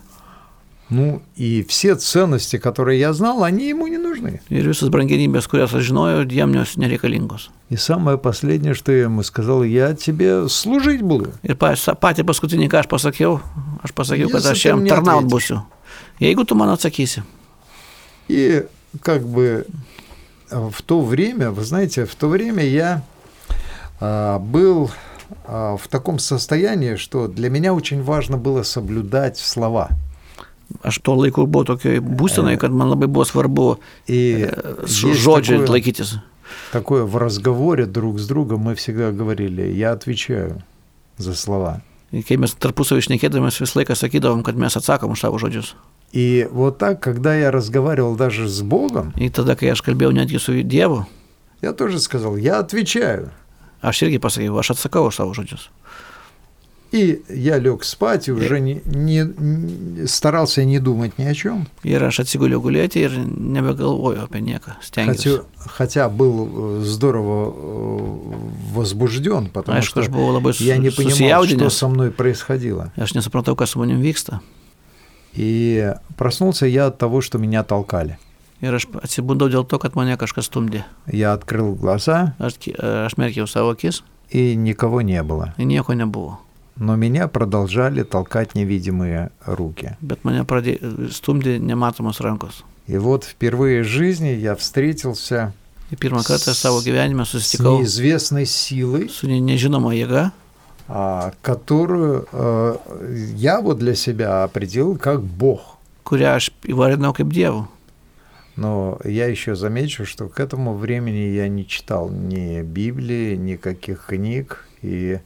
Speaker 2: Ну и все ценности, которые я знал, они ему не нужны.
Speaker 1: ir visas brangenybės, kurias aš žinojau, jam jos nereikalingos.
Speaker 2: И самое последнее, что я ему сказал, я тебе служить буду.
Speaker 1: Ir pa- sa- patį paskutinį, ką aš pasakiau, aš pasakiau, kad
Speaker 2: Jėzus,
Speaker 1: aš
Speaker 2: tai
Speaker 1: jam
Speaker 2: mane
Speaker 1: tarnaut
Speaker 2: atleidžia.
Speaker 1: būsiu. Jeigu tu man atsakysi.
Speaker 2: И как бы э, в то время, вы знаете, в то время я а, был а, в таком состоянии, что для меня очень важно было соблюдать слова.
Speaker 1: Aš tuo laiku buvau tokioje būsenoje, kad man labai buvo svarbu
Speaker 2: И
Speaker 1: e,
Speaker 2: есть
Speaker 1: su žodžiu
Speaker 2: такое,
Speaker 1: laikytis.
Speaker 2: такое в разговоре друг с другом мы всегда говорили, я отвечаю за слова.
Speaker 1: Ir Kai mes tarpusavį išnekėdavomės, visą laiką sakydavom, kad mes atsakom už savo žodžius.
Speaker 2: И вот так, когда я разговаривал даже с Богом,
Speaker 1: Ir tada, kai aš kalbėjau netgi su Dievu,
Speaker 2: я тоже сказал, я отвечаю.
Speaker 1: aš irgi pasakiau, aš atsakau už savo žodžius.
Speaker 2: И я лег спать и уже не, не, не старался не думать ни о чем.
Speaker 1: Ir aš atsigulėjau gulėti ir nebegalvojau apie nieką.
Speaker 2: Хотя,
Speaker 1: Stengiausi.
Speaker 2: хотя был э, здорово э, возбужден, потому
Speaker 1: Aišku, aš
Speaker 2: что
Speaker 1: buvau labai
Speaker 2: я не
Speaker 1: sus-
Speaker 2: понимал, что
Speaker 1: susijaudinęs.
Speaker 2: со мной происходило.
Speaker 1: Aš nesupratau, kas su manim vyksta.
Speaker 2: И проснулся я от того, что меня толкали.
Speaker 1: Ir aš atsibundau dėl to, kad mane kažkas stumdė.
Speaker 2: Я открыл глаза,
Speaker 1: Aš, ki- aš merkiau savo akis
Speaker 2: и никого не было.
Speaker 1: ir nieko nebuvo.
Speaker 2: Но меня продолжали толкать невидимые руки.
Speaker 1: Bet mane pradė, stumdė nematomos rankos.
Speaker 2: И вот впервые в жизни я встретился
Speaker 1: Ir pirmą kartą
Speaker 2: S-
Speaker 1: savo gyvenime
Speaker 2: с
Speaker 1: susitikau
Speaker 2: неизвестной силой,
Speaker 1: su ne- nežinoma jėga,
Speaker 2: а, которую э, я вот для себя определил как Бог.
Speaker 1: kurią aš įvardinau kaip dievų.
Speaker 2: Но я еще замечу, что к этому времени я не читал ни Библии, никаких книг, и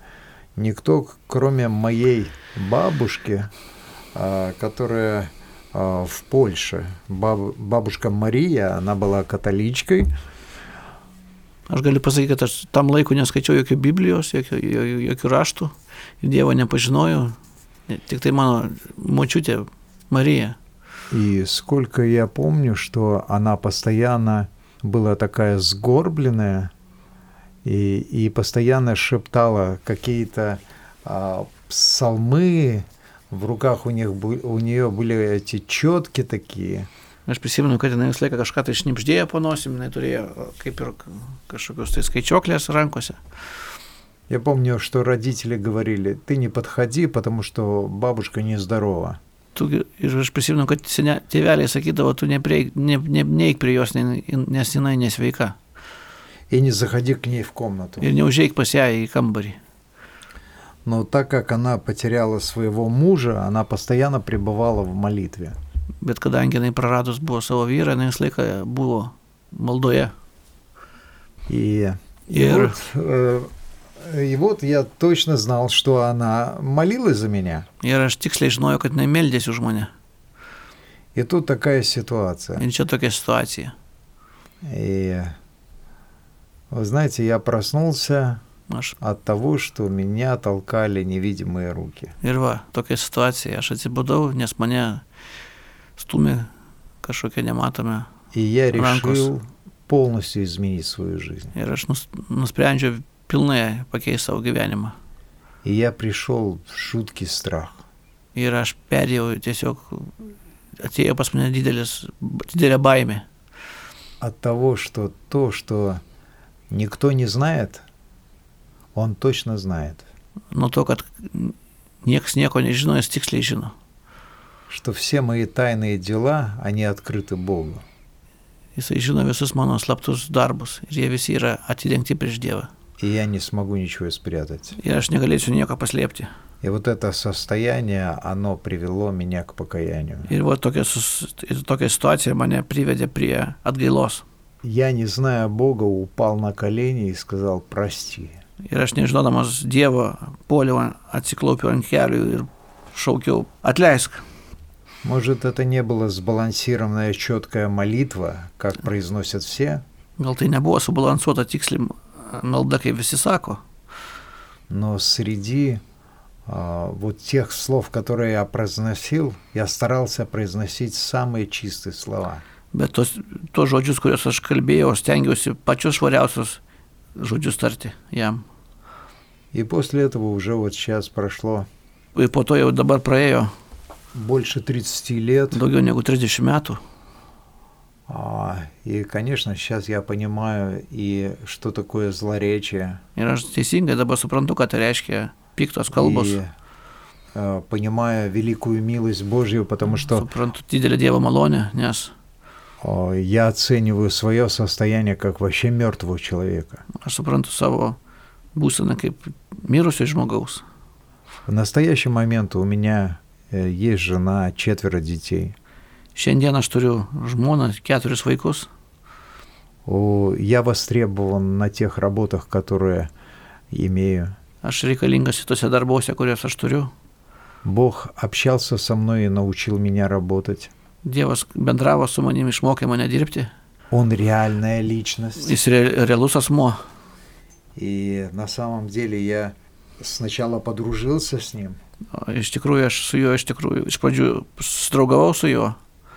Speaker 2: никто, к- кроме моей бабушки, а, которая а, в Польше, баб- бабушка Мария, она была католичкой,
Speaker 1: Aš galiu pasakyti, kad aš tam laiku neskaičiau jokių Biblijos, jokių, jo- jokių raštų ir Dievo nepažinojau. Tik tai mano močiutė Marija.
Speaker 2: И сколько я помню, что она постоянно была такая сгорбленная и, и постоянно шептала какие-то а, псалмы. В руках у, них, бу- у нее были эти четки такие.
Speaker 1: Aš prisimenu, kad jinai visą laiką kažką tai šnipždėjo po nosim, jinai turėjo kaip ir kažkokius tai skaičiuoklės rankose.
Speaker 2: Я помню, что родители говорили, ты не подходи, потому что бабушка нездорова.
Speaker 1: Tu, gi- ir aš prisimenu, kad sene, tėveliai sakydavo, tu neprieik, ne, ne, neik prie jos, ne- nes jinai nesveika.
Speaker 2: И не заходи к ней в комнату.
Speaker 1: Ir neužėjai pas ją į kambarį.
Speaker 2: Но так как она потеряла своего мужа, она постоянно пребывала в молитве.
Speaker 1: Bet kadangi jinai praradus buvo savo vyrą, jinai visą laiką buvo maldoje.
Speaker 2: И, и,
Speaker 1: Ира.
Speaker 2: вот, э, и вот я точно знал, что она молилась за меня.
Speaker 1: Ir aš tiksliai žinojau, kad jinai meldėsi už mane.
Speaker 2: И тут такая ситуация.
Speaker 1: Ir čia tokia situacija.
Speaker 2: И вы знаете, я проснулся
Speaker 1: Aš.
Speaker 2: от того, что меня толкали невидимые руки.
Speaker 1: Ir va, tokia situacija. Aš atsibudau, nes mane stumė kažkokia nematome.
Speaker 2: И я
Speaker 1: Ранкус.
Speaker 2: решил полностью изменить свою жизнь.
Speaker 1: Ir aš nus, nusprendžiau pilnai pakeisti savo gyvenimą.
Speaker 2: И я пришел в жуткий страх.
Speaker 1: Ir aš perėjau tiesiog, atėjo pas mane didelis, didelė baimė.
Speaker 2: От того, что то, что никто не знает, он точно знает.
Speaker 1: Nuo to, kad niekas nieko nežino, jis tiksliai žino.
Speaker 2: что все мои тайные дела, они открыты Богу.
Speaker 1: Jisai žino visus mano slaptus darbus ir jie visi yra atidengti prieš Dievą.
Speaker 2: И я не смогу ничего спрятать.
Speaker 1: Ir aš negalėsiu nieko paslėpti.
Speaker 2: И вот это состояние, оно привело меня к покаянию.
Speaker 1: Ir va tokia, sus, ir tokia situacija mane privedė prie atgailos.
Speaker 2: Я, не зная Бога, упал на колени и сказал «прости».
Speaker 1: Ir aš nežinodamas Dievo poliau atsiklaupiau ant kelių ir šaukiau, atleisk.
Speaker 2: Может, это не была сбалансированная четкая молитва, как произносят все,
Speaker 1: Gal tai nebuvo subalansuota tiksliai malda, kaip visi sako,
Speaker 2: но среди а, вот тех слов, которые я произносил, я старался произносить самые чистые слова.
Speaker 1: bet tos, tos žodžius, kuriuos aš kalbėjau, aš stengiausi pačius švariausius žodžius tarti jam.
Speaker 2: И после этого уже вот сейчас прошло
Speaker 1: Ir po to jau dabar praėjo
Speaker 2: больше 30 лет.
Speaker 1: daugiau negu 30 metų.
Speaker 2: А, И, конечно, сейчас я понимаю и что такое злоречие,
Speaker 1: Ir aš teisingai dabar suprantu, ką tai reiškia piktos kalbos.
Speaker 2: и э, понимаю великую милость Божью, потому что
Speaker 1: Suprantu didelę Dievo malonę, nes
Speaker 2: о, я оцениваю свое состояние как вообще мертвого человека.
Speaker 1: aš suprantu savo būseną kaip mirusio žmogaus.
Speaker 2: В настоящий момент у меня э, есть жена, четверо детей.
Speaker 1: Šiandien aš turiu žmoną, keturis vaikus.
Speaker 2: О, я востребован на тех работах, которые имею.
Speaker 1: Aš reikalingas į tose darbuose, kuriuos aš turiu.
Speaker 2: Бог общался со мной и naучил меня работать.
Speaker 1: Dievas bendravo su manimi, išmokė mane dirbti.
Speaker 2: Он реальная личность.
Speaker 1: Jis re, realus asmo.
Speaker 2: И на самом деле я Сначала подружился с ним,
Speaker 1: Iš tikrųjų, aš su juo, iš tikrųjų, iš pradžių sudraugavau su juo.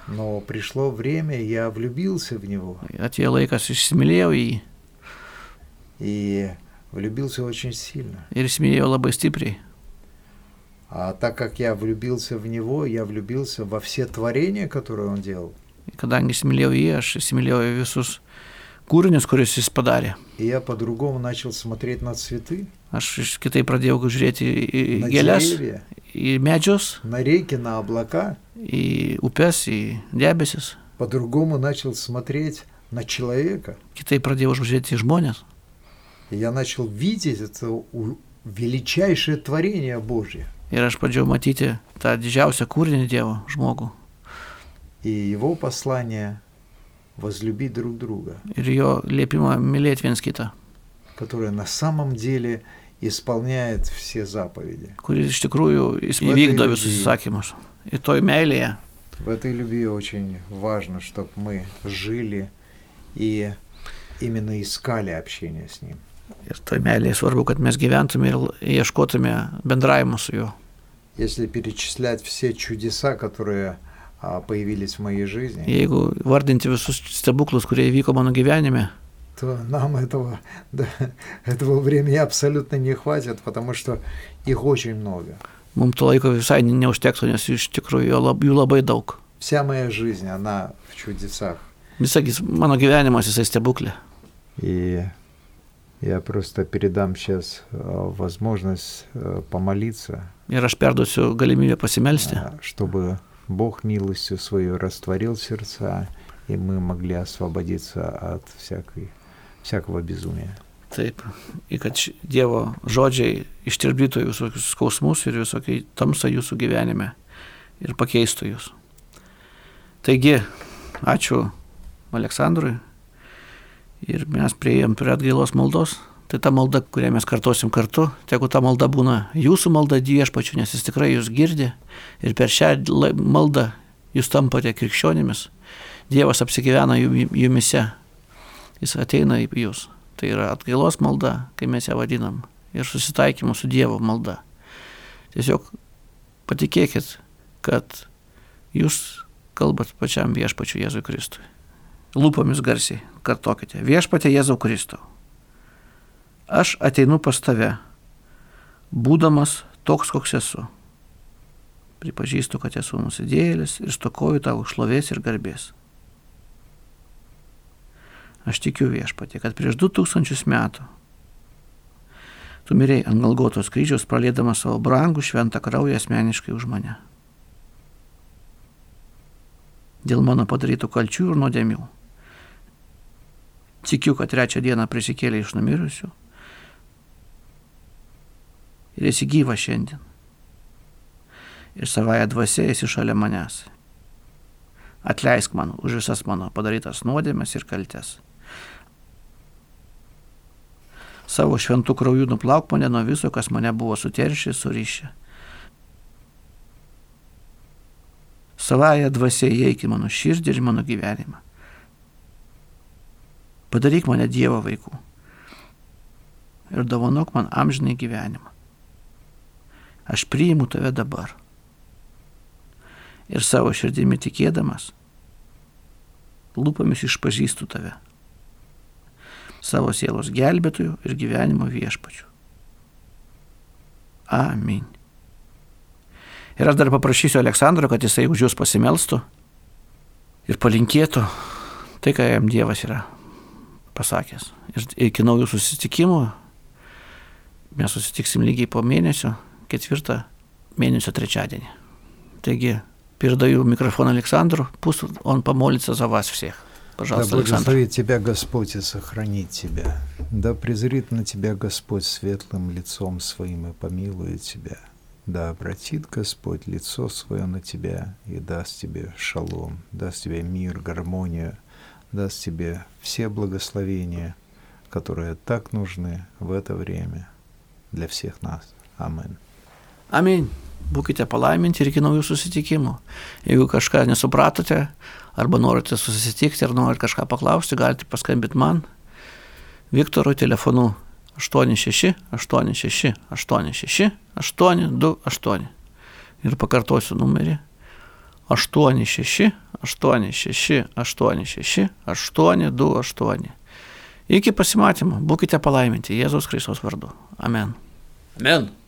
Speaker 2: но пришло время, я влюбился в него.
Speaker 1: Atėjo laikas, įsimylėjau jį
Speaker 2: И влюбился очень сильно.
Speaker 1: ir įsimylėjau labai stipriai.
Speaker 2: А так как я влюбился в него, я влюбился во все творения, которые он делал.
Speaker 1: Kadangi įsimylėjau jį, aš įsimylėjau visus kūrinius, kuriuos jis padarė.
Speaker 2: И я по-другому начал смотреть на цветы,
Speaker 1: Aš iš kitaip pradėjau žiūrėti į į
Speaker 2: на
Speaker 1: gėlės,
Speaker 2: деревья,
Speaker 1: į medžius,
Speaker 2: на реки, на облака.
Speaker 1: į upes, į debesis.
Speaker 2: По-другому начал смотреть на человека.
Speaker 1: Kitaip pradėjau žiūrėti į žmonės.
Speaker 2: И я начал видеть это у- величайшее творение Божье.
Speaker 1: Ir aš pradėjau matyti tą didžiausią kūrinį Dievo žmogų
Speaker 2: И его послание возлюбить друг друга,
Speaker 1: ir jo liepimą mylėti viens kitą,
Speaker 2: которое на самом деле исполняет все заповеди.
Speaker 1: kuris iš tikrųjų jis
Speaker 2: Labai
Speaker 1: įvykdo
Speaker 2: liūdžiai.
Speaker 1: visus įsakymus. Ir toj meilėje
Speaker 2: В этой любви очень важно, чтобы мы жили и именно искали общение с Ним.
Speaker 1: ir toj meilėje svarbu, kad mes gyventume ir l- ieškotume bendravimo su juo.
Speaker 2: Если перечислять все чудеса, которые а, появились в моей жизни,
Speaker 1: Jeigu vardinti visus stebuklus, kurie įvyko mano gyvenime,
Speaker 2: то нам этого, да, этого времени абсолютно не хватит, потому что их очень много.
Speaker 1: mums to laiko visai ne- neužtektų, nes iš tikrųjų jo lab- jų labai daug.
Speaker 2: Вся моя жизнь, она в чудесах.
Speaker 1: Visagis mano gyvenimas jisai stebuklė.
Speaker 2: И я просто передам сейчас э, возможность э, помолиться,
Speaker 1: Ir aš perduosiu galimybę pasimelsti,
Speaker 2: а, чтобы Бог милостью свою растворил сердца, и мы могли освободиться от всякой, всякого безумия.
Speaker 1: taip, ir kad ši- Dievo žodžiai ištirpdytų visokius skausmus ir visokiai tamsą jūsų gyvenime ir pakeistų jūs. Taigi, ačiū Aleksandrui ir mes prieėjom prie atgailos maldos. Tai ta malda, kurią mes kartosim kartu, tegu ta malda būna jūsų malda Dievpačiu, nes jis tikrai jūs girdi ir per šią la- maldą jūs tampate krikščionimis. Dievas apsigyvena jumi- jumise, jis ateina į jūs. Tai yra atgailos malda, kai mes ją vadinam, ir susitaikymo su Dievo malda. Tiesiog patikėkit, kad jūs kalbat pačiam viešpačiu Jėzui Kristui. Lūpomis garsiai kartokite, viešpatė Jėzau Kristau. Aš ateinu pas tave, būdamas toks, koks esu. Pripažįstu, kad esu nusidėjėlis ir stokoju tavo šlovės ir garbės. Aš tikiu viešpatė, kad prieš du tūkstančius metų tu mirėjai ant galgotos kryžiaus, pralėdamas savo brangų šventą kraują asmeniškai už mane. Dėl mano padarytų kalčių ir nuodėmių. Tikiu, kad trečią dieną prisikėlė iš numirusių ir esi gyva šiandien. Ir savaja dvasia esi šalia manęs. Atleisk man už visas mano padarytas nuodėmes ir kaltes. Savo šventų krauju nuplauk mane nuo viso, kas mane buvo suteršę, surišę. Savaja dvasia įeik į mano širdį ir į mano gyvenimą. Padaryk mane Dievo vaikų ir davonok man amžinai gyvenimą. Aš priimu tave dabar ir savo širdimi tikėdamas, lūpomis išpažįstu tave, savo sielos gelbėtojų ir gyvenimo viešpačių. Amin. Ir aš dar paprašysiu Aleksandro, kad jisai už jūs pasimelstų ir palinkėtų tai, ką jam Dievas yra pasakęs. Ir iki naujų susitikimų mes susitiksim lygiai po mėnesio, ketvirtą mėnesio trečiadienį. Таги, передаю микрофон Александру, пусть он помолится за вас всех. Пожалуйста,
Speaker 2: да
Speaker 1: Александр.
Speaker 2: благословит тебя Господь и сохранит тебя. Да презрит на тебя Господь светлым лицом своим и помилует тебя. Да обратит Господь лицо свое на тебя и даст тебе шалом, даст тебе мир, гармонию, даст тебе все благословения, которые так нужны в это время для всех нас. Амин.
Speaker 1: Amin. Būkite palaiminti ir iki naujų susitikimų. Jeigu kažką nesupratote, arba norite susitikti, ar norite kažką paklausti, galite paskambinti man, Viktorui telefonu 8-6, 8-6, 8-6, 8-2, 8. Ir pakartosiu numerį. 8-6, 8-6, 8-6, 8-2, 8. Iki pasimatymo. Būkite palaiminti Jėzaus Kristaus vardu. Amen. Amen.